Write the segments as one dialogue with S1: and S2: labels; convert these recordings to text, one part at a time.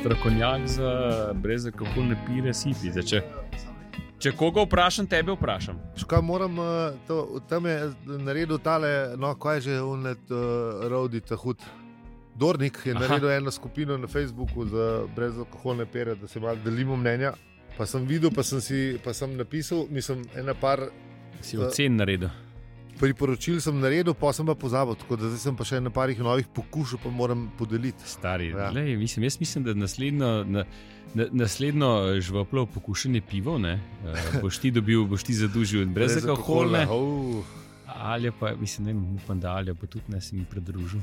S1: strokovnjak za breze, kako ne pire siti. Zdaj, če, če koga vprašam, tebe vprašam.
S2: Škoda, moram, eh, to, tam je eh, naredil tale, no, kaj je že unet, uh, Rodi Tahut. Dornik je
S1: Aha.
S2: naredil eno skupino na Facebooku za brezalkoholne pere, da se malo delimo mnenja. Pa sem videl, pa sem, si, pa sem napisal, mislim, ena par
S1: Si ocen naredil.
S2: priporočil sem naredil, pa sem pa pozabil. Tako da zdaj sem pa še na parih novih pokušal, pa moram podeliti.
S1: Stari,
S2: Ja.
S1: ja. lej, mislim, jaz mislim, da naslednjo, na, na, naslednjo žvaplo pokušene pivo ne, eh, boš ti dobil, boš ti zadužil in brez alkohola.
S2: Oh.
S1: Ali pa, mislim, ne vem, upam, da ali pa tudi ne se mi pridružil.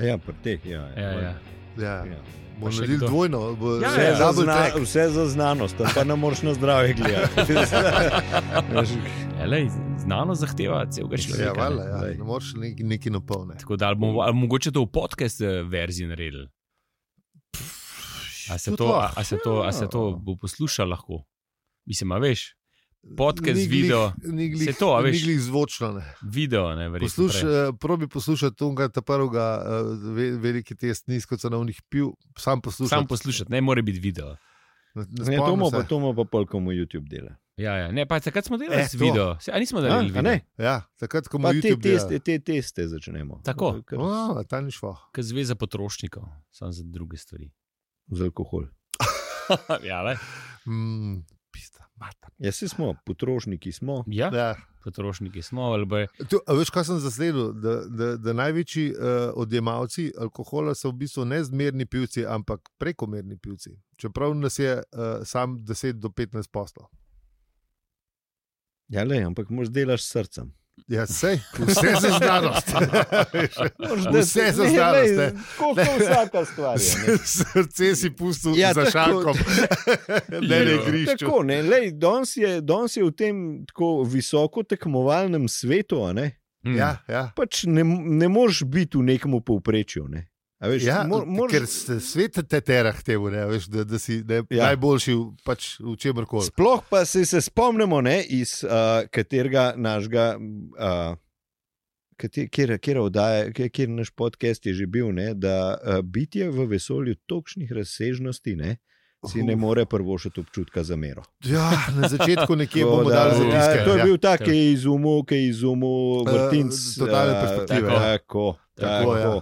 S3: Ja, pri teh, ja.
S1: Ja, ja.
S2: Ja,
S3: Ja.
S2: bomo
S1: Pa še
S2: naredili
S1: kdo?
S2: dvojno, bo
S1: Ja,
S3: Vse,
S2: ja,
S1: ja.
S3: za
S2: double
S3: zna,
S2: track.
S3: vse za znanost, ali pa ne moreš na zdravje gledati. Veš,
S1: Ja, lej, znano zahteva celega
S2: Ja,
S1: človeka. ne.
S2: valjda, ja.
S3: Daj.
S2: Ne moreš neki, neki napolne.
S1: Tako da ali bomo ali mogoče to v podcast eh, verziji naredili. A se
S2: Tudi
S1: to, a,
S2: lahko.
S1: a se to, a se to bo poslušal lahko? Mislim, a veš,
S2: Ja.
S1: podcast,
S2: Ni glih-
S1: video,
S2: ni glih-
S1: Se to, a
S2: ni
S1: veš.
S2: glih zvočno. Ne.
S1: video, ne verjetno.
S2: Posluš,
S1: prej.
S2: eh, probi poslušati tega ta prvega, eh, ve- veliki test nizkocenovnih piv, sam poslušaj.
S1: Sam poslušati, ne more biti video.
S2: Ne, ne
S3: Ne, ja, to
S2: spomnim
S3: bomo
S2: se.
S3: pa, to bomo pa polkomu YouTube dela.
S1: Ja, ja. Ne, pa takrat smo delali
S2: Eh,
S1: eh, z
S2: to.
S1: video. Se, a nismo
S3: A,
S1: delali
S3: a
S1: video.
S3: ne?
S2: Ja, takrat, ko
S3: Pa
S2: imaš
S3: te teste, te teste začnemo.
S1: Tako.
S3: Kar
S2: Oh, ta ni šlo.
S1: Kot zveza potrošnikov, samo za druge stvari.
S3: Z alkohol.
S1: ja, le.
S2: Mm, pista, mata.
S3: Ja, saj smo, potrošniki smo.
S1: ja,
S2: ja.
S1: potrošniki smo, ali pa
S2: Tu, a veš, kaj sem zasledil? Da, da, da največji uh, odjemalci alkohola so v bistvu ne zmerni pivci, ampak prekomerni pivci. Čeprav nas je uh, sam 10 do 15 poslov.
S3: Ja, le, ampak moš delaš s srcem.
S2: Ja, sej, vse za znanost.
S1: Ja,
S2: Vse za znanost. ne.
S3: znanost. Koliko vsaka stvar je. ne.
S2: Srce si pustil
S3: Ja,
S2: ja, za
S3: tako.
S2: šankom, ne na
S1: Ja.
S2: igrišču.
S3: Tako, ne, lej, danes je, danes je v tem tako visoko tekmovalnem svetu, a ne,
S1: hm,
S2: Ja, ja.
S3: pač ne, ne moreš biti v nekem povprečju. Ne. A Veš,
S2: Ja,
S3: mor, moraš-
S2: Ker se svet te tera k temu, ne, veš, da, da si da je
S3: Ja.
S2: ja. najboljši v, pač, v čemer koli.
S3: Sploh pa se, se spomnimo, ne, iz uh, katerega našega. Uh, Kjer, kjer, kjer, oddaja, kjer, kjer naš podcast je že bil, ne, da uh, bitje v vesolju točnih razsežnosti ne, si ne more prvošiti občutka za mero.
S2: Ja, na začetku nekje
S3: Tako
S2: bomo
S3: da,
S1: ja,
S2: dali zapiske.
S3: To je
S2: ja.
S3: bil
S1: Ja.
S3: ta, ki je izumil, ki je izumil
S2: Eh,
S3: vrtinc.
S2: totalne
S3: eh,
S2: perspektive,
S3: Tako,
S2: ja.
S3: tako,
S2: Tako,
S3: tako,
S2: ja.
S3: tako.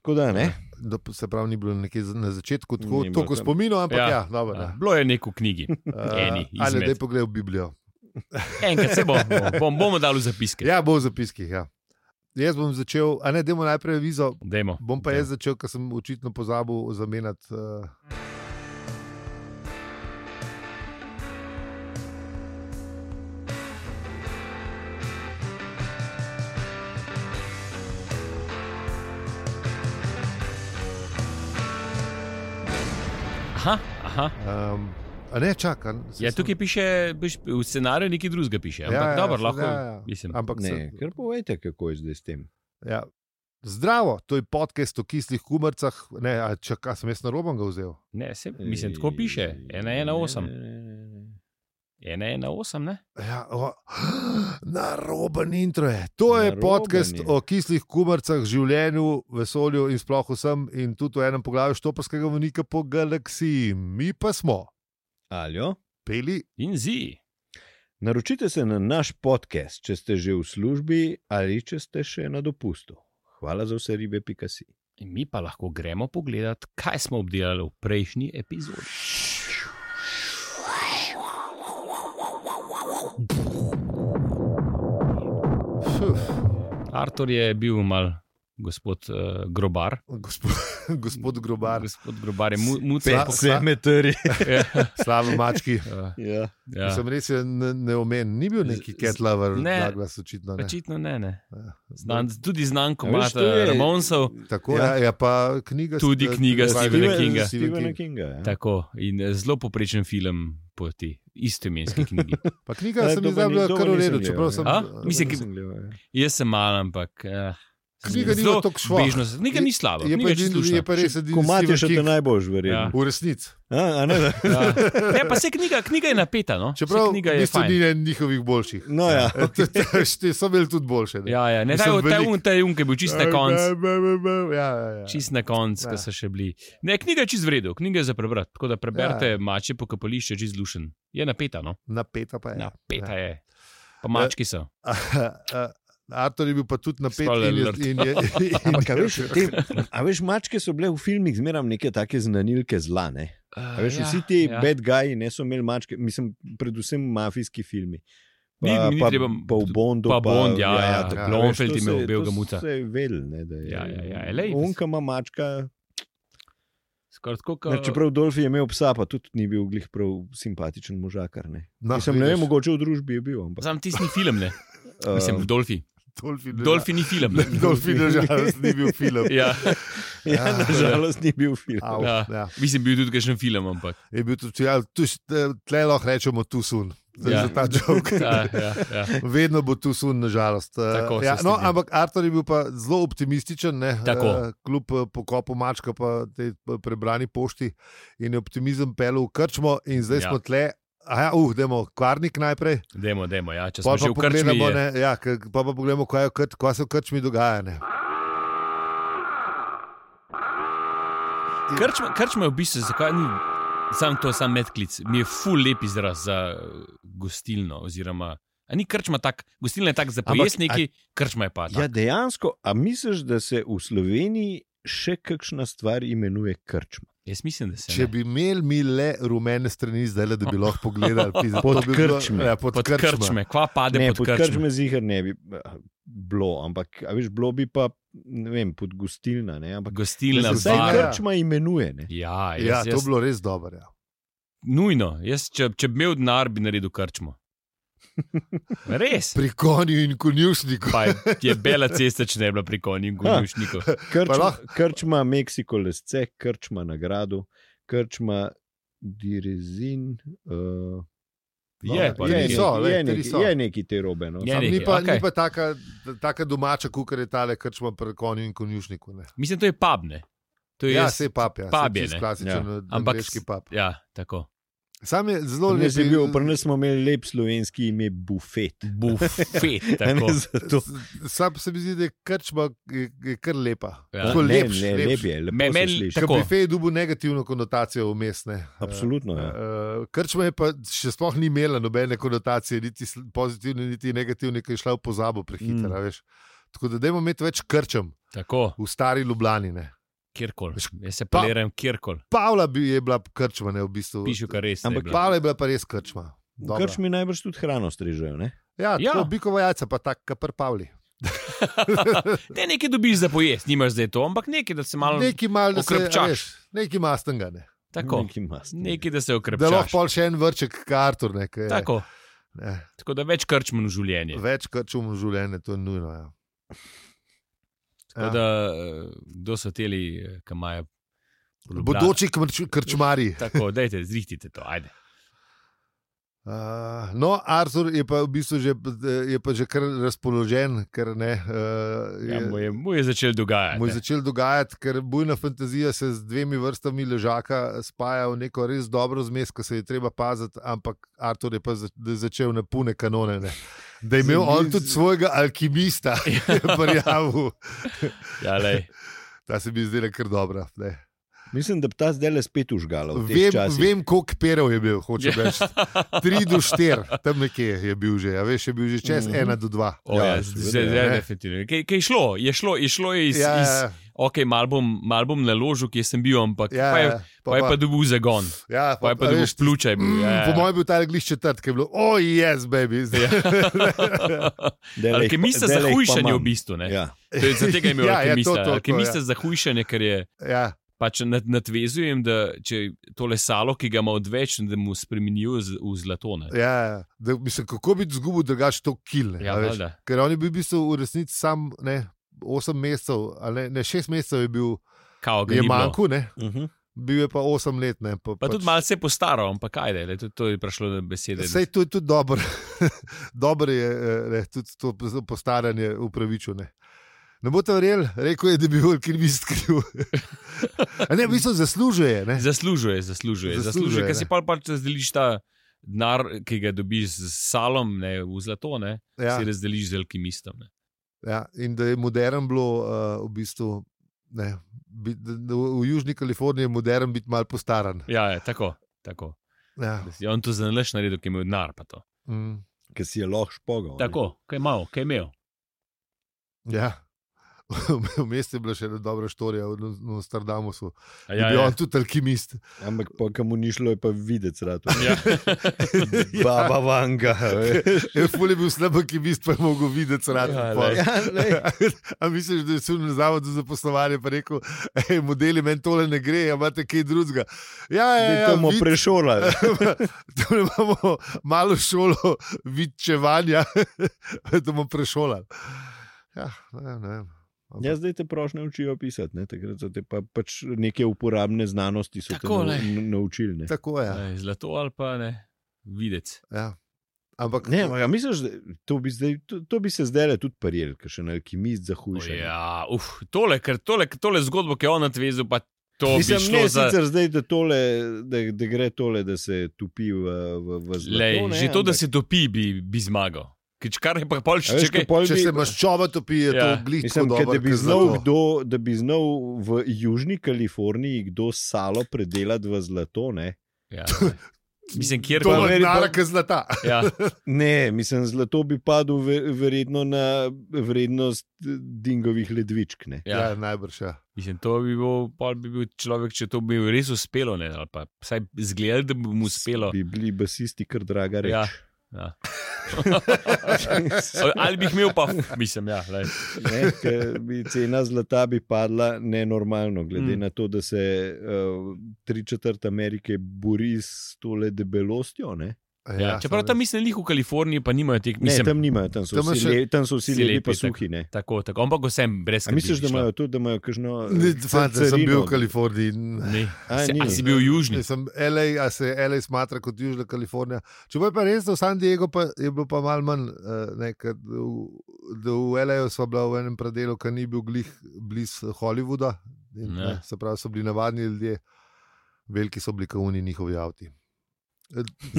S3: tako da ne.
S2: Da, se pravi, ni bilo nekje za- na začetku tako,
S3: Ni bilo
S2: tako
S3: tam.
S2: spomino, ampak ja,
S1: Ja.
S2: ja dobro. Eh,
S1: Ja,
S2: Ja.
S1: bilo je neko v knjigi. Eni
S2: ali
S1: izmed.
S2: da je pogledal Biblijo.
S1: Enkrat se bo, bom, bom, bomo dali v zapiske.
S2: Ja, bo v zapiskih. Ja. Jaz bom začel, a ne, dajmo najprej vizo.
S1: Dajmo.
S2: Bom pa jaz začel, ker sem očitno pozabil zamenjati. Uh,
S1: Aha, aha.
S2: um, a ne, čakaj.
S1: Ja, tukaj piše, piš- v scenariju nekaj drugega piše. Ampak ja, ja, dobro, lahko.
S2: Ja, ja.
S1: Mislim,
S2: Ampak
S3: ne.
S2: se,
S3: Ker povejte, kako je zdaj s tem.
S2: ja. Zdravo, to je podcast o kislih kumrcah. Ne, a čakaj, sem jaz na roben ga vzel.
S1: ne, se, mislim, tako piše. 1-1-8. 1-1-8, ne?
S2: Ja, o, na roben intro je. To je
S3: Naroben
S2: podcast
S3: je.
S2: je. o kislih kumrcah, življenju, vesolju in sploh vsem, in tudi v enem poglavju štoparskega vnika po galaksiji. Mi pa smo
S3: Aljo.
S2: peli,
S1: In zi.
S3: Naročite se na naš podcast, če ste že v službi ali če ste še na dopustu. Hvala za vse ribe, pika si.
S1: In mi pa lahko gremo pogledat, kaj smo obdelali v prejšnji epizodi.
S2: Fuf,
S1: Artur je bil mal gospod uh, Grobar.
S2: gospod, gospod Grobar,
S1: Gospod Grobar je mu, mucel.
S2: Pe- se me
S3: metri.
S1: Ja,
S2: slabo mački.
S1: eh,
S3: Ja.
S1: ja.
S2: Ja. Sem res je ne, ne omenil, ni bil neki
S1: Z- z-
S2: Ketlover,
S1: ne.
S2: ne glas očitno. Ne.
S1: Očitno ne. ne.
S2: Ja.
S1: Znan, tudi znan
S3: A veš,
S1: komat eh,
S3: to je-
S1: Ramonsov.
S2: Tako
S3: Ja.
S2: ja. je, pa knjiga.
S1: Tudi
S2: eh,
S1: knjiga
S2: Stephena
S1: Stephena Kinga.
S2: Stephena Kinga.
S3: Stevena Kinga. Ja.
S1: Tako in eh, zelo poprečen film po ti istoimenski knjigi.
S2: Pa knjiga
S3: Eh,
S2: se mi
S3: dober
S2: zdaj
S3: ni- ja.
S2: bila
S3: dober
S2: kar v
S3: nisem
S2: redu,
S3: gledal,
S2: čeprav
S3: ja.
S2: sem.
S1: A?
S2: eh,
S1: Mislim,
S3: Nisem gledal, ja.
S1: Jaz sem mal, ampak eh,
S2: Knjiga ni tako šla.
S1: Knjiga ni slaba.
S2: Je
S1: knjiga
S2: pa,
S1: je čisto
S2: edini-
S1: lušna.
S2: je pa res edini,
S3: Ko
S2: Stephen
S3: imaš še to
S2: King
S3: najboljš, verjetno.
S1: najbolj-
S2: V resnici.
S3: A, a ne, da-
S1: Ja. Ne, pa se knjiga, knjiga je napeta. No. Saj
S2: Čeprav
S1: knjiga je
S2: v bistvu
S1: fajn.
S2: ni en njihovih boljših.
S3: no, ja.
S2: Ti so bili tudi boljše. ne.
S1: Ja, ja. Ne, ta,
S2: Mislim,
S1: ta
S2: veliko.
S1: un, ta un, ki je bil čist na koncu.
S2: Ja, ja, ja.
S1: Čist na koncu,
S2: Ja.
S1: ki so še bili. Ne, knjiga je čist vredna, knjiga je za prebrati. Tako da preberite ja.
S2: Ja.
S1: mače po kapališču, je čist zlušen. Je napeta, no.
S2: Napeta
S3: Ja,
S2: pa je.
S1: Napeta je. Pa mački so.
S2: Artur je bil pa tudi napet
S1: Spoiler
S2: in je.
S1: alert.
S2: In je, in
S3: Ampak, a veš,
S2: je
S3: te, a veš, mačke so bile v filmih zmeraj neke take znanilke zla. Ne? A Veš,
S1: Ja,
S3: vsi ti
S1: ja.
S3: bad guyi niso imeli mačke, mislim, predvsem mafijski filmi. Pa,
S1: Ni- ni
S3: pa,
S1: treba-
S3: pa v Bondu.
S1: pa Bond, ja, ja,
S3: tako,
S2: ja.
S3: veš,
S1: Blomfeld
S3: to
S1: je
S3: se-
S1: imel belega
S3: to
S1: muta.
S3: Se je vedel, ne, da je.
S1: Ja, ja, ja, lej.
S3: Unka ima mačka.
S1: Skoraj tako,
S3: Ka...
S1: kot
S3: Čeprav Dolph je imel psa, pa tudi ni bil glih prav simpatičen možakar. Ne,
S2: No,
S3: mislim, ne vem,
S2: vidiš.
S3: mogoče v družbi je bil. Ampak,
S1: Sam tisti film, ne. Mislim,
S3: um,
S1: Dolfi.
S2: Dolfin držal.
S1: Dolfi ni film. Ne.
S2: Dolfin nažalost ni bil film.
S1: Ja,
S3: ja,
S2: Ja.
S3: nažalost ni bil film.
S2: Au,
S1: Ja.
S2: ja.
S1: mislim, bil je tudi kakšen film, ampak.
S2: Je bil tudi, ja, tu s- te- tle lahko rečemo, tu sun.
S1: Ja.
S2: Ja. Ta joke.
S1: Ja, ja, ja.
S2: Vedno bo tu sun, nažalost. Eh,
S1: Tako, se
S2: ja, no,
S1: strinjam.
S2: ampak Artur je bil pa zelo optimističen, ne,
S1: Tako.
S2: eh, kljub eh, pokopu mačka, pa tej eh, prebrani pošti in je optimizem pelil v krčmo, in zdaj
S1: Ja.
S2: ja. smo tle. Aha, uh, dajmo kvarnik najprej.
S1: Demo, demo, ja. Če smo
S2: Pol
S1: že v
S2: pa
S1: krčmi,
S2: pogledamo,
S1: je-
S2: ne, ja, k- pol pa pogledamo, kaj, je v krč- kaj se v krčmi dogaja. Ne.
S1: Krčma, krčma je v bistvu, zakaj ni sam to, sam medklic, mi je ful lep izraz za eh, gostilno. Oziroma, a ni krčma tak, gostilna je tak za
S3: Ampak,
S1: pojasniki, krčma je pa.
S3: Ja,
S1: Tak.
S3: dejansko, a misliš, da se v Sloveniji še kakšna stvar imenuje krčma?
S1: Jaz mislim, da se.
S2: Če
S1: Ne.
S2: bi imeli mi le rumene strani, zdaj le, da bi lahko pogledali pizda,
S3: Pod
S2: to bi bilo-
S3: krčme.
S2: Ja, pod,
S1: Pod
S2: krčme.
S1: krčme, kva pade
S3: Ne,
S1: ne, pod krčme.
S3: krčme zihar ne bi eh, bilo, ampak a veš, bilo bi pa, ne vem, pod gostilna. Ne? Ampak
S1: Gostilna,
S3: da se vsaj
S2: bar.
S1: bar.
S3: krčma imenuje. Ne?
S1: Ja, jaz,
S2: Ja,
S1: ja,
S2: to je
S1: jaz,
S2: bilo res dobro. Ja.
S1: nujno. Jaz, če, če bi imel denar, bi naredil krčmo. Res.
S2: Pri konju in konjušniku.
S1: Pa je, je bela cesta, če ne bi bila pri konju in gonjušniku.
S3: Krčma,
S2: lahko-
S3: krčma Meksiko lesce, krčma nagrado, krčma direzin. Uh,
S1: Je, E, pa
S2: je,
S1: nekaj.
S2: Ja, so.
S3: ja, je,
S2: lej,
S3: je,
S2: tri
S3: neki,
S2: so.
S3: je neki te robe. No.
S1: Je
S2: Sam
S1: nekaj,
S2: Ni pa,
S1: okej.
S2: okay. ni pa taka, taka domača, kot je tale krčma pri konju in konjušniku. Ne.
S1: Mislim, to je pabne. To je
S2: Ja,
S1: jaz-
S2: se pap, ja,
S1: pub je, ne.
S2: se klasičen
S3: Ja.
S2: ja.
S1: Ampak-
S2: angliški pap.
S1: Ja, tako.
S2: Sam je zelo lep.
S3: Pri nas je bil- pri nas smo imeli lep slovenski ime bufet.
S1: Bufet,
S3: A
S1: tako.
S3: Ne, zato,
S2: Sam se mi zdi, da je krčma je, je kar lepa.
S1: Ja.
S2: Tako
S3: ne,
S2: lepš,
S3: ne,
S2: lepš.
S3: lep je, lepo
S1: Me-
S3: se
S1: meni-
S3: sliši.
S2: Ker
S1: Tako.
S2: bife je dubu negativno konotacijo vmesne.
S3: Absolutno, ja.
S2: Krčma Eh, je pa še sploh ni imela nobene konotacije, niti sl- pozitivne, niti negativne, ki je šla v pozabo prehitro.
S3: Mm.
S2: a veš. Tako da dajmo imeti več krčem
S1: Tako,
S2: v stari Ljubljani. Ne.
S1: kjerkoli. Jaz se
S2: Pa-
S1: paliram kjerkoli,
S2: Pavla bi, je bila krčma, ne v bistvu.
S1: pišu kar res.
S3: Ampak
S1: Ampak pa.
S2: Pavla je bila pa res krčma.
S3: V
S2: Dobra.
S3: Krčmi najbrž tudi hrano strežejo. Ne?
S1: Ja.
S2: Ja, ja. tako bikova jajca, pa tako, kar Pavli.
S1: Ne, nekaj dobiš za pojesti, nimaš zdaj to, ampak nekaj, da se malo. Nek,
S2: Neki mal, da se,
S1: okrepčaš.
S2: a veš, neki mastenga, ne.
S1: tako,
S3: Nekaj mast.
S1: nekaj, da se
S2: da lahko
S1: okrepeš.
S2: pol še en vrček, kartur, ne. ke je,
S1: Tako.
S2: Ne.
S1: tako da več krčmo v življenje.
S2: Več krčum v življenju, to je nujno. Ja.
S1: Tako Da, eh, kdo so teli, eh, ki imajo. v Ljubljani-
S2: Bodoči krč, krčmari.
S1: Tako, dajte, zrihtite to, ajde.
S2: Uh, no, Arthur je pa v bistvu že, je pa že kar razpoložen, ker ne. Uh,
S1: Ja, mu, je, mu je začel dogajati.
S2: Mu
S1: ne.
S2: je začel dogajati, ker bojna fantazija se z dvemi vrstami ležaka spaja v neko res dobro zmes, ki se je treba paziti, ampak Artur je pa za, da je začel na pune kanone. Ne. Da je imel on tudi svojega alkimista, je prijavil.
S1: Ja, lej.
S2: Ta se mi zdela kar dobra. Ne.
S3: Mislim, da bi ta zdaj le spet užgala. v teh
S2: Vem,
S3: časih. Ja.
S2: vem koliko perov je bil, hoče reči. Tri do štiri, tam nekje je bil že, a veš, je bil že čez
S3: Mhm.
S2: ena do dva.
S1: O,
S3: Ja,
S1: ja,
S3: seveda,
S1: zdaj, zdaj,
S2: ne.
S1: definitivno. Kaj, kaj je šlo? Je šlo, je šlo je iz, ja, iz
S2: Ja,
S1: ok, mal bom, mal bom na ložu, kjer sem bil, ampak
S2: ja,
S1: pa je,
S2: ja,
S1: pa, pa je pa dobil zagon.
S2: ja,
S1: Pa je pa
S2: a
S1: dobil
S2: veš,
S1: plučaj.
S2: Mm,
S1: Ja, ja.
S2: Po mojem je bil ta glih četrt, ki je bilo, oj, oh, jaz, yes, baby. Zdaj,
S3: Dele jih pa-
S1: Alkemista
S3: dele
S1: za
S3: jih pa
S1: hujšanje
S3: imam.
S1: v bistvu. Ne? Ja.
S3: Ja.
S1: To je, zato je imel
S2: Ja, ja,
S1: ja, alkemista.
S2: to,
S1: Ja,
S2: to, to,
S1: alkemista
S2: ja.
S1: za hujšanje, ker je
S2: ja,
S1: pač nad- nadvezujem, da če tole salo, ki ga ima odveč, da mu spremenijo z- v zlatone.
S2: ja, ja. da, mislim, kako bi izgubil drugače to kilne.
S1: Ja,
S2: a veš?
S1: valjda.
S2: Ker on je bil v bistvu v resnici sam ne, 8 mesecev, ali ne, ne 6 mesecev je bil,
S1: Kao ga
S2: je
S1: ni bilo.
S2: manjku, ne,
S3: Uh -huh.
S2: bil je pa 8 let. Ne, pa,
S1: Pa
S2: pač-
S1: tudi malce postaro, ampak kaj je, to, to je prišlo do besede.
S2: Sej to je tudi dobro, dobro je eh, ne, tudi to postaranje upravičene. Ne boste verjeli, rekel je, da bi bil krivist kriv. A ne, v bistvu zaslužuje. Ne?
S1: Zaslužuje, zaslužuje,
S2: Zaslužuje,
S1: zaslužuje ker
S2: ne.
S1: si pa pač razdeliš ta denar, ki ga dobiš s salom, ne, v zlato, ne, ja.
S2: Ja,
S1: si razdeliš z alkimistom. Ne.
S2: ja, in da je modern bilo uh, v bistvu. Ne, bi, da, da v v Južni Kaliforniji je modern biti mal postaran.
S1: Ja, je, tako. Tako.
S2: Ja.
S1: Da si On to zanalaš naredil, ki je imel denar. pa to.
S2: Mm.
S3: ki si je lahko špogal. ne.
S1: Tako, kaj je imel, kaj je imel.
S2: Ja. Vmes je bila še ena dobra štorija v N- Nostradamusu.
S1: A
S2: Ja,
S1: Ja,
S2: je bil
S1: ja.
S2: on tudi alkimist.
S3: Ampak po kamu ni šlo, je pa videti rado.
S1: ja.
S3: Baba vanga.
S2: Je Ja, ful je bil slab alkimist, pa je mogel videti srati.
S1: Ja,
S2: pol.
S3: Ja, lej.
S2: A misliš, da je sumil na zavodu za poslovanje in rekel, hej, modeli meni tole ne gre, a imate kaj drugega. Ja, ja,
S3: Ja,
S2: ja,
S3: to bomo
S2: vid-
S3: prešolali.
S2: Tule imamo malo šolo vidčevanja, da bomo prešolali. Ja, ne, vem, ne. vem.
S3: Ja, zdaj te prošnje učijo pisati, ne? takrat so te pa pač neke uporabne znanosti so
S1: Tako,
S3: te
S1: lej.
S3: nau, naučili. Ne?
S2: Tako je. Ja.
S1: Ej, Zlato ali pa ne, videc.
S2: Ja. Ampak
S3: Ne, ampak a misliš, da to bi, zdaj, to, to bi se zdaj tudi paril, ker še en alkimist za
S1: O
S3: hujše.
S1: Ja, uf, tole, ker tole, tole zgodbo, ki je on odvezel, pa to
S3: Mislim,
S1: bi
S3: ne
S1: šlo za.
S3: sicer zdaj, da, tole, da, da gre tole, da se tupi v, v, v zlato.
S1: Lej,
S3: ne,
S1: že to, da
S3: ampak-
S1: se topi, bi, bi zmagal. Ker če Kar je pa pol
S3: A
S1: še
S3: veš,
S1: čekaj.
S3: ko pol
S2: če
S3: bi-
S2: se maščoba topi, je
S1: Ja.
S2: to glih.
S3: Mislim, ker da, bi znal kdo, da bi znal v Južni Kaliforniji kdo salo predelati v zlato. Ne,
S1: Ja, ne. mislim, kjer
S2: To
S1: pa.
S2: je
S3: veri-
S2: nara, ki zlata.
S1: Ja,
S3: ne mislim, zlato bi padlo ve- verjetno na vrednost eh, dingovih ledvičk. Ne.
S2: Ja,
S1: ja.
S2: ja najbrž. Ja.
S1: Mislim, to bi bil, pol bi bil človek, če to bi mu res uspelo, ne, ali pa vsaj zgledal, da bi mu uspelo.
S3: Bi bili basisti kar draga reč.
S1: Ja. Ja. Ali bi jih imel, pa mislim, ja. Lej.
S3: Ne, ker bi cena zlata bi padla nenormalno, glede
S1: Mm.
S3: mm. na to, da se uh, tri četrt Amerike bori s tole debelostjo. Ne?
S1: Ja, čeprav
S2: samo
S1: tam mislim, lih v Kaliforniji pa nimajo teh,
S3: Ne,
S1: mislim,
S3: tam nimajo, tam so
S2: Tam je
S3: vsi,
S2: še-
S3: le, tam so vsi
S1: vsi
S3: lepi
S1: lepi,
S3: pa
S1: tako.
S3: suhi. Ne?
S1: Tako, tako, ampak vsem brez
S3: A
S1: skrbi
S3: misliš, da
S1: bi šlo.
S3: imajo to, da imajo kakšno.
S2: Ne, fant, jaz sem
S3: carino?
S2: bil v Kaliforniji. Ne.
S1: Ne.
S3: A,
S1: Se-
S3: ni.
S1: a si bil južni?
S2: Jaz Sem LA, a se LA smatra kot Južna Kalifornija. Če bo pa res, da v San Diego pa je bilo pa malo manj, eh, ne, ker v, da v LA-ju smo bila v enem predelu, ki ni bil glih blizu Hollywooda. In,
S1: Ne.
S2: ne, se pravi, so bili navadni ljudje, veliki so bili kauni njihovi avti.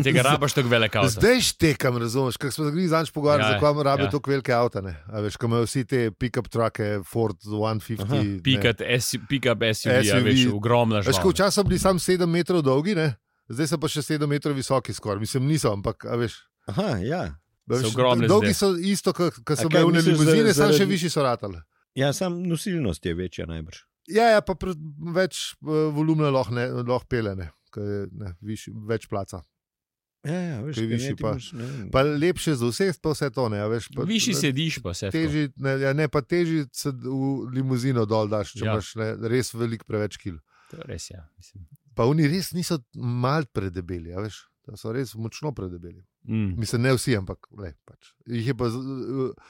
S1: Tega rabaš tako velik avto.
S2: Zdaj štekam, razumeš, kaj smo se bili zadnjič pogovarjali,
S1: Ja,
S2: zakaj imamo rabe
S1: ja.
S2: ja. tako velike avtane. Veš, ko imajo vsi te pick-up trucke, Ford 150.
S3: Aha,
S2: ne.
S1: Pikat, S- Pick-up SUV, ja,
S2: SUV.
S1: veš, ogromna
S2: Veš, ko
S1: žoga.
S2: včasih so bili samo 7 metrov dolgi, ne? zdaj so pa še 7 metrov visoki, skoraj. Mislim, niso, ampak a veš.
S3: Aha, ja.
S2: a
S1: So
S2: veš,
S1: ogromne zdaj.
S2: dolgi so isto, kot
S3: A
S2: so
S3: kaj
S2: bile
S3: misliš,
S2: limuzine,
S3: zaradi-
S2: samo še
S3: zaradi-
S2: višji so ratali.
S3: ja, sam nosilnost je večja najbrž.
S2: Ja, ja, pa pred, več eh, volumna lahko ne- lahko pelene, več placa.
S3: Ja, ja, veš,
S2: Kaj
S3: kaj
S2: višji
S3: ne, ti
S2: pa.
S3: imaš, ne vem.
S2: Pa lepše za vse, pa vse to ne. a Veš, pa,
S1: Višji sediš, pa se teži.
S2: Teži, ne, ja, ne, pa teži se v limuzino dol daš, če
S1: Ja.
S2: ja. imaš ne, res velik preveč kil.
S1: To je res, ja. mislim.
S2: Pa oni res niso mal predebeli, a veš, da so res močno predebeli.
S1: Mm.
S2: Mislim, ne vsi, ampak le, pač. jih je pa z- eh,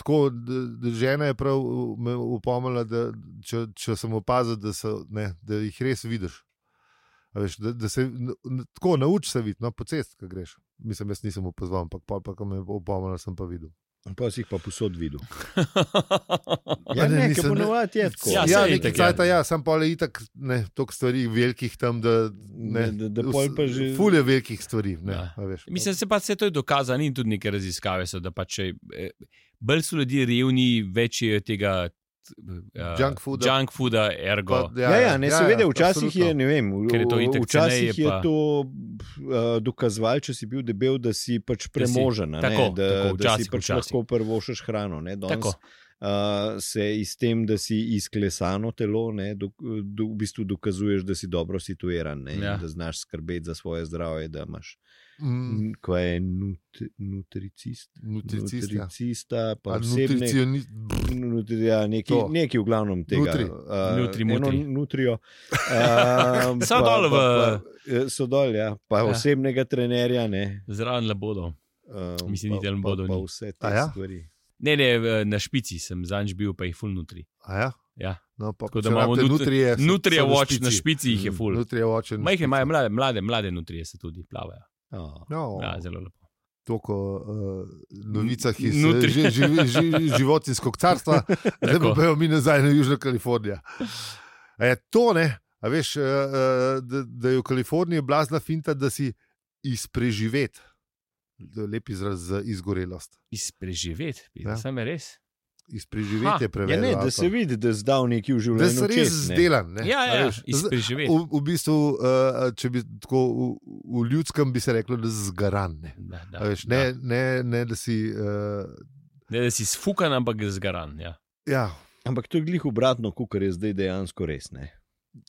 S2: tako, da, da žena je prav eh, me upomnila, da če, če sem opazil, da, so, ne, da jih res vidiš. A Veš, da, da se n- n- tako nauči se videti, no, po cesti, ki greš. Mislim, jaz nisem opazil, ampak pol pa, ko me je opomnila, sem pa videl.
S3: Pa si jih pa posod videl. Ja,
S2: A ne,
S3: ne, ne
S2: nisem,
S3: ker
S2: ne.
S3: ponovadi je tako.
S1: Ja,
S2: ja
S1: saj
S2: nekaj
S1: itak, ja.
S2: cajta, ja, sam pol je itak, ne, toliko stvari velikih tam, da ne.
S3: Da- da- da pol pa že-
S2: Fulje velikih stvari, ne,
S1: Ja.
S2: ja. veš.
S1: Mislim, se pa se to je dokazano in tudi neke raziskave so, da pa če eh, bolj so ljudje revni, več je tega. t- eh,
S2: Junk fooda.
S1: Junk fooda, ergo.
S2: Pa-
S3: Ja, ja, ne, ja, seveda, včasih
S2: absolutno.
S3: je, ne vem,
S1: Ker je to
S3: v-
S1: itak
S3: včasih
S1: ceneje
S3: je
S1: pa-
S3: to uh, dokazval, če si bil debel, da si pač premožen, a ne,
S1: tako,
S3: da,
S1: tako,
S3: da si
S1: včasih,
S3: pač
S1: včasih.
S3: lahko prvošaš hrano. Ne, danes,
S1: Tako.
S3: Uh, se iz tem, da si izklesano telo, ne, do, do, v bistvu dokazuješ, da si dobro situiran, ne,
S1: Ja.
S3: ja. da znaš skrbeti za svoje zdravje, da imaš,
S2: Mm,
S3: mm. kaj je nut, nutricist,
S2: Nutricist, ja.
S3: nutricista, pa
S2: A
S3: osebne
S2: nutricionist.
S3: Nutri, ja, neki,
S2: To.
S3: neki v glavnem tega.
S2: Nutri.
S3: Uh,
S1: Nutri,
S3: eno
S1: mutri.
S3: nutrijo. Uh,
S1: So dol v-
S3: So dol, ja. Pa
S1: Ja.
S3: ja. osebnega trenerja, ne.
S1: Zraven labodov.
S3: Uh,
S1: Mislim, niti en
S3: pa,
S1: bodo
S3: pa
S1: ni.
S3: vse te
S2: A ja?
S3: ja? stvari.
S1: Ne, ne, v- na špici sem zanj bil, pa jih full nutri.
S2: A Ja?
S1: Ja.
S2: No, pa,
S1: Tako da
S2: če
S1: imamo
S2: rabite
S1: nut-
S2: nutrije. Ja, so-
S1: Nutrija
S2: so na
S1: watch na špici jih je
S3: Mm,
S1: full.
S2: Nutrije watch. je na
S1: Majhne,
S2: špici.
S1: imajo mlade, mlade, mlade nutrije se tudi plavajo.
S3: Oh.
S2: No,
S1: Ja, zelo lepo.
S2: Toko uh, novicah iz eh,
S1: Nutri.
S2: ži, ži, ži, životinskog carstva, zdaj pa
S1: Tako.
S2: bojo mi nazaj na Južno Kalifornijo. A je to ne, a veš, uh, uh, da, da je v Kaliforniji blazna finta, da si izpreživeti. To je Lep izraz za izgorelost.
S1: Izpreživeti,
S2: Ja.
S1: ja. sam je res. Ha,
S2: Izpreživeti je
S3: Ja,
S2: preveč.
S3: ne, da se vidi, da je zdal neki v
S2: da
S3: življenju.
S2: si res
S3: čez, ne.
S2: zdelan. Ne?
S1: Ja,
S2: A
S1: ja,
S2: veš, z-
S1: izpreživeti.
S2: V, v bistvu, uh, če bi tako v, v ljudskem, bi se reklo, da si zgaran. Ne,
S1: Da,
S3: Ja,
S1: da,
S2: A veš,
S1: da.
S2: ne, ne, ne da si. Uh,
S1: Ne, da si sfukan, ampak je zgaran. Ja.
S2: ja,
S3: Ampak to je glih obratno, kot je zdaj dejansko res. Ne?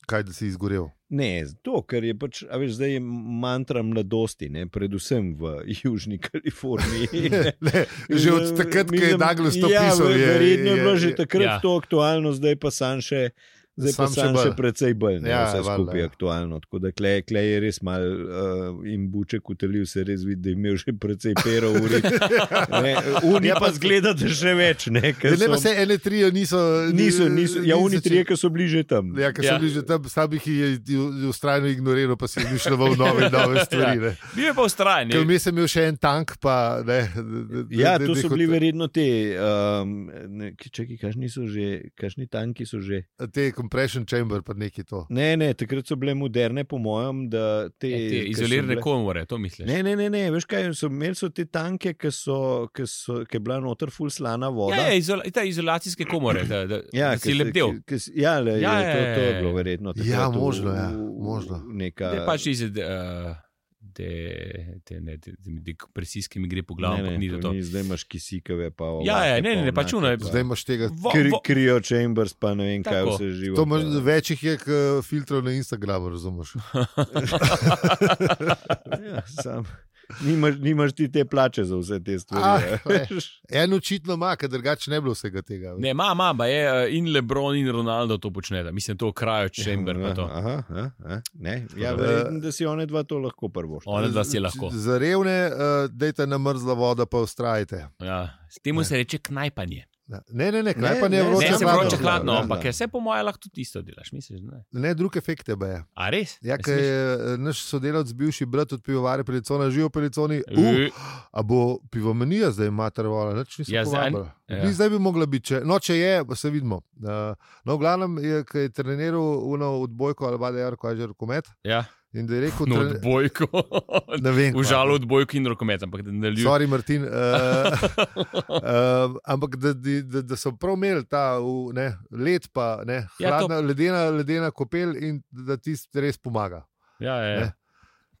S2: kaj da si izgorel.
S3: Ne, to, ker je pač, a veš, zdaj je mantra mladosti, ne? predvsem v Južni Kaliforniji. ne.
S2: Ne, že od takrat, ko je
S3: Mislim,
S2: Douglas to
S3: ja,
S2: pisal,
S3: ver-
S2: je,
S3: Verjetno je bilo že takrat
S1: Ja.
S3: ja. to aktualno, zdaj pa sam še. Zdaj pa
S2: Samo še
S3: sam še, še
S2: bolj.
S3: precej bolj, ne,
S2: Ja,
S3: ja, vse
S2: valjda,
S3: skupaj
S2: ja.
S3: je aktualno. Tako da klej, klej je res mal uh, in buček utelil, se res vidi, da je imel že precej perov uri. Uni
S2: Ja, pa- Ja,
S3: ja, pa zgleda, da še več. Ne, ker
S2: Ne, ne, pa
S3: so-
S2: vse ene tri niso.
S3: niso, niso, ja, oni
S2: začeli-
S3: trije, ki so bili že tam.
S2: Ja, ker
S1: Ja.
S2: so bili že tam, sam jih je i- ustrajno ignoriral, pa si je mišljeval nove, nove stvari.
S3: Ja.
S2: ne.
S1: Bil je pa ustrajen.
S2: Ker
S1: je-
S2: vmes sem imel še en tank, pa ne. da- da-
S3: Ja,
S2: da-
S3: to
S2: da-
S3: so
S2: da-
S3: bili verjetno te, um, čekaj, kašni so že, kašni tanki so že.
S2: Te compression chamber, pa neki to.
S3: Ne, ne, takrat so bile moderne, po mojem, da te,
S1: Ja, te
S3: ke so
S1: Izolirane
S3: bile-
S1: komore, to misliš. Ja,
S3: Ne, ne, ne, ne, veš kaj, so, imeli so te tanke, ki so, ki so, ki je bila noter ful slana voda.
S1: Ja, ja izola, ta izolacijske komore, da, da, ja, da
S3: ki
S1: si
S3: se-
S1: lebdel.
S3: ki- ki s- Ja, le,
S1: Ja,
S3: ja, je, to,
S1: ja, ja,
S3: to je
S1: ja.
S3: bilo verjetno.
S2: Ja,
S3: takrat v-
S2: možno, ja,
S3: v- v-
S2: možno.
S3: Neka,
S1: Da je pač iz de, de, de, ne, de, de, de kompresijske mi gre po glavi, ampak ni
S3: to
S1: da to.
S3: ni, zdaj imaš kisikave. Pa
S1: Ja, ja,
S3: ovake,
S1: ne, ne, ne,
S3: pa
S1: pač uno je-
S3: onake, pa-
S2: Zdaj imaš tega.
S1: Vo,
S3: Kri,
S1: vo,
S3: krio chambers, pa ne vem, kaj
S1: Tako.
S3: vse živo.
S2: To imaš,
S3: pa-
S1: ja.
S2: več jih je k, filtrov na Instagramu, razumeš?
S3: Ja, sam. Nimaš, nimaš ti te plače za vse te
S2: Ah,
S3: stvari. ja.
S2: ne. En očitno ima, ker drugače ne bi bilo vsega tega. veš.
S1: ne, ima, ima, pa je eh, in Lebron in Ronaldo to počneta, mislim, to krajo čember.
S3: Ja,
S1: Ja,
S3: Aha, aha, aha, ne. Ja,
S2: Eh,
S3: verjetno, da si one dva to lahko prvo.
S1: One dva si lahko.
S2: Za revne, uh, dajte na mrzla voda, pa ustrajte.
S1: Ja, s temu se reče knajpanje.
S2: Ne, ne, ne, kraj
S3: Ne,
S2: pa ne
S3: ne,
S2: vroče
S1: Ne, se
S3: hladno.
S1: vroče hladno,
S3: Ja, ja.
S1: ampak je vse po mojem lahko tudi isto delaš, misliš, da ne?
S2: Ne, drug efekt tebe je.
S1: A res?
S2: Ja,
S1: Ne
S2: ker
S1: smeš?
S2: je eh, naš sodelavec, bivši brat od pivovare, pelicona, živo peliconi. Uh,
S1: Eh,
S2: a bo pivomenija zdaj matervala, nič nisem
S1: Ja,
S2: ja,
S1: zdaj-
S2: povabila.
S1: ja.
S2: Ja. Zdaj bi mogla biti, če, no, če je, pa se vidimo. Uh, no, v glavnem je, ko je treniral uno odbojko ali badejar, ko je že rokomet.
S1: Ja,
S2: In da je rekel,
S1: no,
S2: tre-
S1: odbojko.
S2: ne vem.
S1: V
S2: kva.
S1: žalu odbojko in rokomet, ampak da ne ljubim.
S2: Sorry, Martin. Uh, uh, ampak da, da, da- da so prav imeli ta v, ne, led, pa ne,
S1: Ja, to-
S2: hladna, ja, ledena, ledena kopel in da tisti res pomaga.
S1: Ja, ja, ja.
S2: Ne.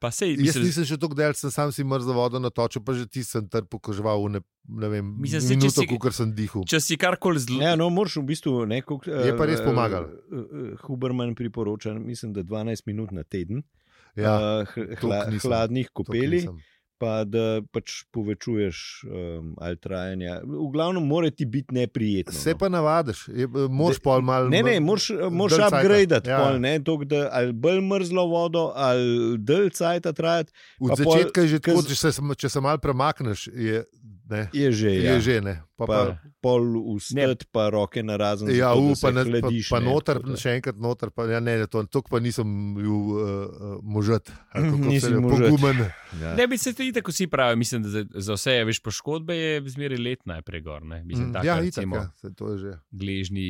S1: Pa sej,
S2: Jaz
S1: mislim,
S2: nisem še tako del, sem sam si mrzlo vodo natočil, pa že ti sem trpel, ko žival v ne, ne vem,
S1: Mislim, se, če
S2: minuto,
S1: si-
S2: si... ko sem dihal.
S1: če si karkoli zelo.
S3: Ja, no, moraš v bistvu neko.
S2: Je pa res pomagalo.
S3: eh, Huberman priporoča, mislim, da 12 minut na teden
S2: Ja,
S3: eh, h-
S2: to
S3: hla,
S2: nisem.
S3: hladnih
S2: to
S3: kopeli,
S2: nisem.
S3: pa da pač povečuješ um, ali trajanja. V glavnem, mora ti biti neprijetno.
S2: Se
S3: no.
S2: pa navadiš, je- eh, moraš
S3: De-
S2: pol malo.
S3: Ne, ne, moraš, eh, moraš
S2: Dalj cajta.
S3: upgradeati,
S2: Ja.
S3: ja. pol, ne, tok, da, ali bolj mrzlo vodo, ali dalj cajt trajati,
S2: Od
S3: pa pol-
S2: začetka je že tako,
S3: kaz-
S2: če se, če se malo premakneš, je, ne,
S3: je že.
S2: je
S3: ja.
S2: že ne. Pa, pa,
S3: pa pol vstati, pa roke na razen.
S2: Ja,
S3: zato, da
S2: u,
S3: se
S2: pa, na, pa,
S3: hladiš,
S2: pa
S3: ne,
S2: noter,
S3: tako da-
S2: še enkrat noter, pa ja, ne, to, to pa nisem bil uh, uh, možet, ali kako se
S3: Nisi
S2: reče,
S3: možat.
S2: pogumen.
S3: Ja.
S1: Ne bi se ti tako vsi pravi, mislim, da za, za vse veš poškodbe je zmeraj let najprej gor. Ne? Mislim,
S2: Mm,
S1: tako,
S2: Ja, itak,
S1: recimo,
S2: ja, saj to je že.
S1: gležni,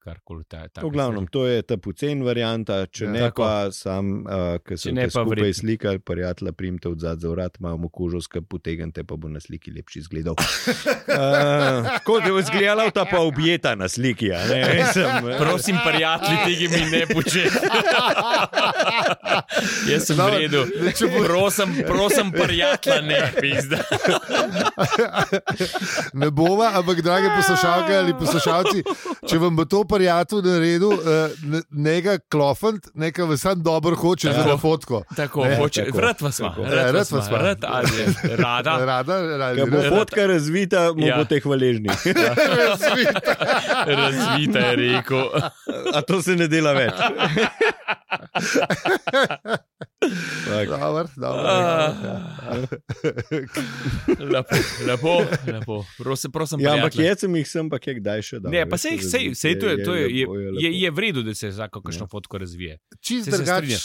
S1: karkoli ta. taka
S3: V glavnem, to je ta pocen varianta, če
S2: Ja.
S3: ja, ne
S1: Tako.
S3: tako. pa sam, uh, ki
S1: Če
S3: se
S1: ne
S3: ne
S1: pa
S3: pa
S1: verjetno.
S3: skupaj slikali, prijatelja primte od zadaj za vrat, imamo kožoska, potegnite pa bo na sliki lepši izgled. Uh, kot je izgledala ta pa objeta na sliki, a ne? eh. Sem,
S1: stvar. Prosim, prijatelji, tega mi ne početi. Jaz sem
S2: Dobro,
S1: v redu.
S2: da če bo-
S1: Prosim, prosim prijatelja, ne pizda.
S2: Ne bova, ampak drage poslušalke ali poslušalci, če vam bo to prijatelj naredil, uh, ne ga klofant, nekaj vas sam dobro hoče ja. za
S1: Tako.
S2: fotko.
S1: Tako,
S2: Ne,
S1: hoče,
S3: tako,
S1: vrat vas ima,
S2: Ja,
S3: tako.
S1: rad vas
S2: rad vas
S1: ima,
S2: ima.
S1: rad ali rada.
S2: Rada,
S3: Ko bo
S2: rada.
S3: fotka razvita, mu
S1: Ja.
S3: ja. boste hvaležni.
S1: Razvita je rekel.
S3: A to se ne dela več.
S2: Dobar, dobar,
S1: Ah. ja. lepo, lepo, lepo. Prosim, prosim
S3: Ja, ampak
S1: prijatelje.
S3: jaz sem jih sem, pa kje kdaj še dal.
S1: Ne, pa sej, sej, sej to je, to je, je, je, je v redu, da se vsako
S3: Ja.
S1: kakšno fotko razvije.
S2: Čist
S1: Se- se
S2: drugače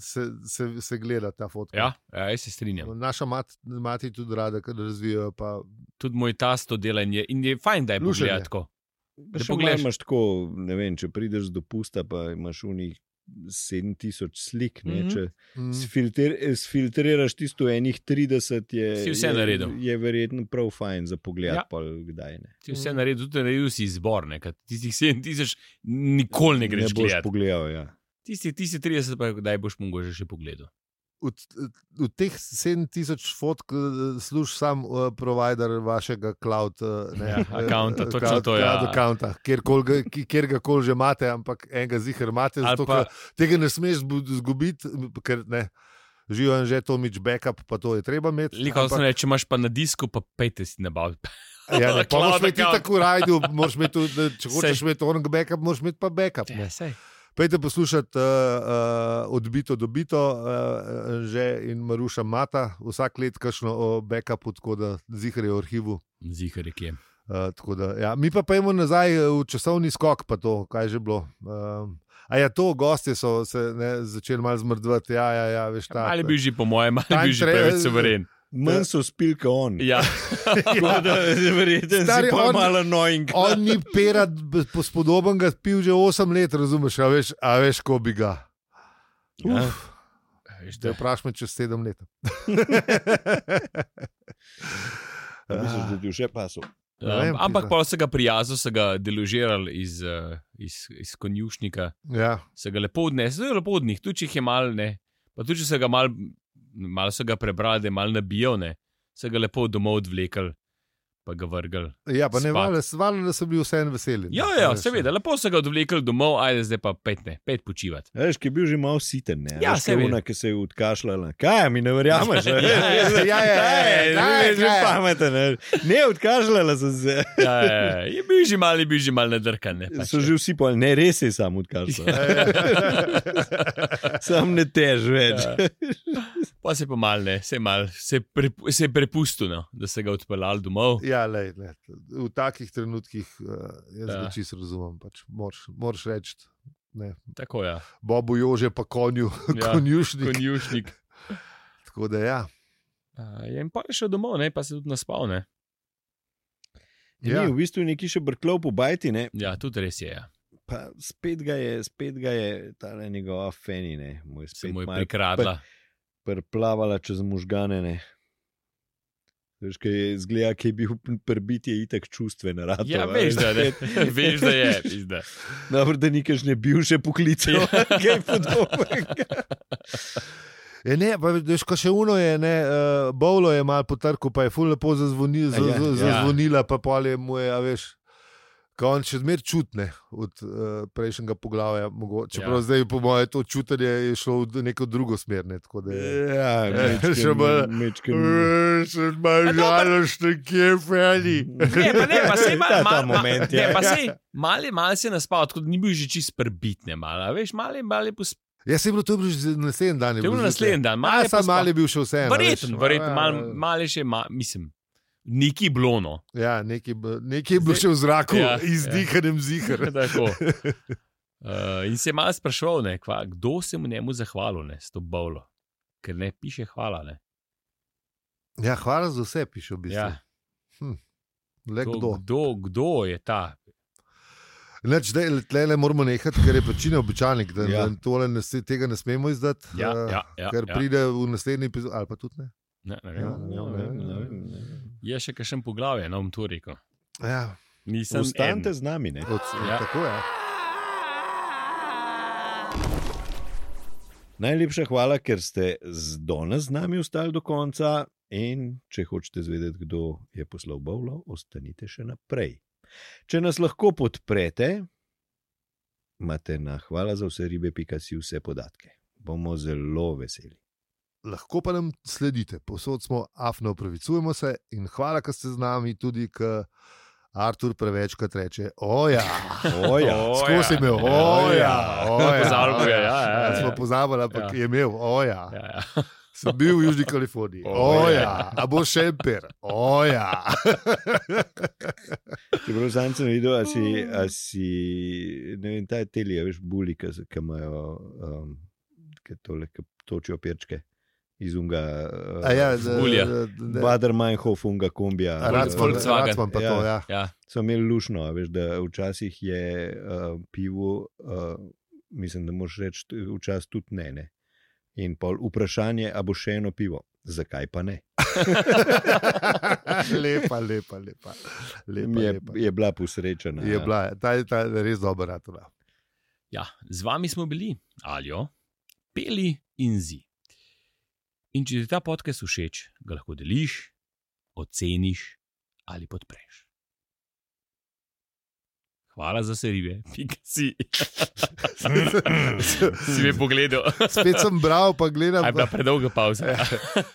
S2: se, se, se gleda ta fotka.
S1: Ja, ja jaz se strinjam.
S2: No, Naša mat, mati tudi rada, ker razvijajo. Pa,
S1: Tudi moj tasto delanje in je fajn, da je
S2: Lušenje.
S1: pogled tako.
S3: Da
S1: Da
S3: pogledaš,
S1: pogledaš.
S3: imaš tako, ne vem, če prideš z dopusta, pa imaš unih 7000 slik, ne, mm
S1: Mhm.
S3: -hmm. če
S2: mm,
S3: sfilter, eh, sfiltriraš tisto enih 30, je,
S1: Si vse
S3: je,
S1: naredil.
S3: je verjetno prav fajn za pogled, ja.
S1: Ja.
S3: pa kdaj ne.
S1: Ti
S2: Mm.
S1: vse narediš, tudi naredil si izbor, ne, ker tistih 7000 nikoli ne greš
S3: ne boš
S1: gledat.
S3: pogledal. Ja.
S1: Tistih tisti 30 pa kdaj boš mogoče še pogledal.
S2: v, v teh 7000 fotk eh, služi sam uh, provider vašega cloud. Uh, ne,
S1: Ja,
S2: eh,
S1: accounta, točno
S2: cloud,
S1: to, ja.
S2: Cloud accounta, kjer, kol ga, ki- kjer ga kol že imate, ampak enega zihar imate,
S1: Ali
S2: zato
S1: pa-
S2: pa... tega ne smeš zbu- zgubiti, ker ne. Živijo in že to mič backup, pa to je treba imeti.
S1: Liko, ampak... reče, imaš pa na disku, pa pejte si nabaviti.
S2: Ja, ne, pa
S1: Cloud
S2: moraš imeti
S1: account.
S2: tako rajdu, moraš imeti tudi, da če
S1: Sej.
S2: hočeš imeti onega backup, moraš imeti pa backup. ne.
S1: sej.
S2: Pojdite poslušati uh, uh, odbito, dobito, uh, že in Maruša Mata, vsak let kašno o backupu, tako da zihar je v arhivu.
S1: Zihar je kje.
S2: Uh, tako da, ja. Mi pa pojmo nazaj eh, v časovni skok, pa to, kaj je že bilo. Um, a ja, to gostje so se ne, začeli malo zmrdvati, ja, ja, ja veš, ta.
S1: Ali bi že, po mojem, ali
S2: Tam
S1: bi že
S2: treba-
S1: preveč soveren.
S3: Manj so spilka on.
S1: Ja,
S3: Tako da, verjetno
S2: Stari,
S3: si pa
S2: on-
S3: malo annoying.
S2: On ni pera, b- spodoben ga pil že 8 let, razumeš, a veš, a veš ko bi ga.
S3: Ja.
S2: Uf, da vprašam čez 7 let.
S3: A Misliš, da ti je še pasel?
S2: Ne vem,
S1: Um, ampak
S2: pizda.
S1: pa so ga prijazno, so ga deložirali iz, eh, iz, iz konjušnika,
S2: Ja.
S1: so ga lepo odnesli, zelo lepo od njih, tudi če jih je malo, ne. Pa tudi če so ga malo, malo so ga prebrali, da je malo nabijal, ne. So ga lepo domov odvlekli, pa ga vrgli.
S2: Ja, pa ne
S1: Spat.
S2: vale, valjda, da so bili vseeno veseli. ne.
S1: Ja,
S2: A
S1: ja,
S2: veš,
S1: seveda, lepo so ga odvlekli domov, ajde zdaj pa pet ne, pet počivati.
S3: Veš, ki je bil že malo siten, ne?
S1: Ja,
S3: Veš, ki je
S1: seveda.
S3: ona, ki se je odkašljala. Kaj, mi ne verjameš? ne?
S1: Ja, ja,
S2: ja, ja, ja, ja,
S3: Kaj, ne,
S2: ja,
S3: že
S2: ja, ja.
S3: pameten. Ne, ne odkašljala sem se.
S1: Ja, ja, ja, je bil že mal, je bil že mal nadrkan. Ne, pač,
S3: So že vsi pol, ne, res je sam
S1: Ja.
S3: odkašljala. Sam ne tež več.
S1: Ja. Pa se je pomal, ne, se je, mal, se je, prepu, se je prepustil, no, da se ga odpeljal domov.
S2: Ja, lej, lej. V takih trenutkih eh, jaz
S1: Ja.
S2: ja. čisto razumem. Pač. Moraš- Moraš reči, ne,
S1: Tako ja,
S2: Bobu Jože, pa konju,
S1: Ja,
S2: ja, konjušnik. Konj...
S1: konjušnik.
S2: Tako da ja.
S1: Uh, ja, in pa je šel domov, ne, pa se tudi naspal. Ne.
S3: Ja.
S2: Ja.
S3: Ni, v bistvu neki še brklov po bajti, ne?
S1: Ja, tudi res je. Ja.
S3: pa spet ga je, spet ga je ta njegova fenine, moj
S1: Se
S3: spet
S1: mu je
S3: malo
S1: prikradla.
S3: preplavala čez možgane. Ne. Veš, kaj je zgleda, ki je bil prbit, je itak čustven. Rato,
S1: Ja, veš,
S3: eh,
S1: da, ne, veš, da je. Pizda.
S3: Dobro, da nikaš ne bil še poklical,
S1: Ja.
S3: kaj podobnega.
S2: Je, Ja, ne, pa, veš, ko še uno je, ne, uh, bolo je malo potrkal, pa je ful lepo zazvonil,
S3: Ja,
S2: ja,
S3: ja.
S2: ja. zazvonila, pa polje mu je, a veš. Ko on še zmeraj čutne od uh, prejšnjega poglavja, mogoče,
S1: Ja.
S2: čeprav ja. zdaj, po mojem, to čutenje je šlo v neko drugo smer. Ne, tako da je-
S3: Ja,
S2: Še bolj-
S3: mečken.
S2: Eh, Sem malo žalosten, kje je Freddy.
S1: Ne, pa ne, pa se
S3: Ta- ta
S1: mal, mal,
S3: moment, ja.
S1: ne, pa saj mal, je- mal se je naspal, tako da ni bil že čist prbitne, mal, a veš, mal je, mal je pos...
S2: Jaz sem bil to Ja, je bilo že naslednji dan.
S1: To je bil naslednji dan, mal
S2: Malo
S1: je
S2: sem
S1: pospal.
S2: mal je bil še vseeno.
S1: Verjetno,
S2: veš.
S1: verjetno, mal,
S2: Ja,
S1: mal je še, mal, mislim, neki blono.
S2: Ja, nekaj, b- nekaj je bilo še v zraku,
S1: Ja,
S2: ja, izdihanem ja. zihar.
S1: Tako. Uh, in se je mal sprašoval, ne, kva, kdo se mu njemu zahvalil ne, s to bolo. Ker ne piše hvala. Ne.
S2: Ja, hvala za vse, piše v bistvu.
S1: Ja,
S2: Ja. Le
S1: to,
S2: kdo.
S1: kdo, kdo je ta?
S2: Neč, daj, tle le moramo nehati, ker je pač neobičajnik, da
S3: Ja.
S2: ja. tole ne, se- tega ne smemo izdati.
S1: Ja,
S2: eh,
S1: ja, ja,
S2: Ker
S1: ja.
S2: pride v naslednji epizodi, ali pa tudi ne.
S1: Ne, ne vem.
S2: Ja, ja, ja, ja.
S1: Je še kakšen poglavje, no bom to rekel.
S2: Ja,
S1: Nisem
S3: Ostanite z nami, ne?
S2: od,
S1: Ja.
S2: ja. Tako je. Ja.
S3: Najlepša hvala, ker ste z danes z nami ostali do konca. In če hočete zvedeti, kdo je poslal Bovlo, ostanite še naprej. Če nas lahko podprete, imate na hvala za vse ribe, pika si vse podatke. Bomo zelo veseli.
S2: lahko pa nam sledite, posod smo, afno upravičujemo se in hvala, da ste z nami tudi, k Artur prevečkrat reče: Oja,
S3: Oja.
S2: skozi imel, oja, oja.
S1: Pozabil je, ja, ja,
S2: Ja,
S1: ja.
S2: smo pozabili, ampak
S1: Ja.
S2: je imel, oja.
S1: Ja, ja.
S2: Sem bil v Južni Kaliforniji,
S1: Oja.
S2: oja, a bo še emper, oja.
S3: Čeprav sam sem videl, a si, a si ne vem, ta telija, veš, buli, ki s- ki imajo, um, ki tole, ki točijo perčke iz unga. Uh,
S2: A ja,
S1: z- Bulja.
S3: Bader Meinhof, unga kombija.
S1: Rad smo-
S3: Eh,
S1: Volkswagen.
S2: Racman pa to,
S3: Ja.
S2: ja.
S1: ja.
S3: so imeli lušno, a veš, da včasih je uh, pivo, uh, mislim, da moš reči, t- včasih tudi ne. ne. In pol vprašanje, a bo še eno pivo. Zakaj pa ne?
S2: lepa, lepa, lepa. lepa,
S3: je,
S2: lepa.
S3: je bila posrečena.
S2: Je
S3: ja.
S2: bila, ta je ta je res dobra, ratula.
S1: Ja, z vami smo bili, alijo, peli in zi. In če ti je ta podcast všeč, ga lahko deliš, oceniš ali podpreš. Hvala za serive, pika si. si me pogledal,
S2: Spet Ja, sem bral, pa gledam.
S1: a je bila predolga pauza.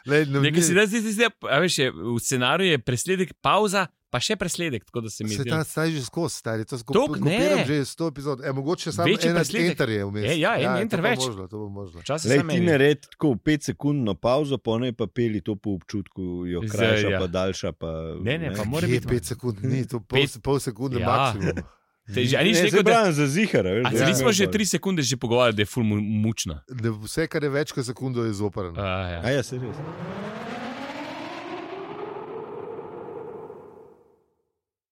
S2: Lej, no, ne,
S1: Nekaj si
S2: ne,
S1: da zdaj, zdaj, zdaj, a veš, je, v scenariju je presledek, pauza, pa še presledek, tako da se mi
S2: Se
S1: zdi.
S2: ta staj že skozi, stari, to skup,
S1: Tok, ne.
S2: kopiram že 100 epizod. E, mogoče samo
S1: Večji
S2: en
S1: presledek.
S2: enter je vmes.
S1: E, ja, en
S2: to
S1: enter
S2: bo
S1: več.
S2: Možno, to bo možno.
S1: Včasih
S3: Lej,
S1: sem
S3: ti ne redi tako petsekundno pauzo, pa ne pa peli to po občutku, jo
S1: Zdaj,
S3: krajša,
S1: ja.
S3: pa daljša. Pa,
S1: Ne, ne, pa mora
S2: Kje
S1: biti.
S2: 5 sekund, ni to pol,
S1: Pet-
S2: pol sekunde
S1: Ja.
S2: ja. maksimum.
S1: Že nisi
S3: se
S1: rekel, da
S3: bran za zihar.
S1: A se nismo že tri sekunde že pogovarjali, da je ful mu- mučna.
S2: Ne, Vse, kar je več kot sekundo, je zoprno.
S1: A, ja.
S3: A ja, se res.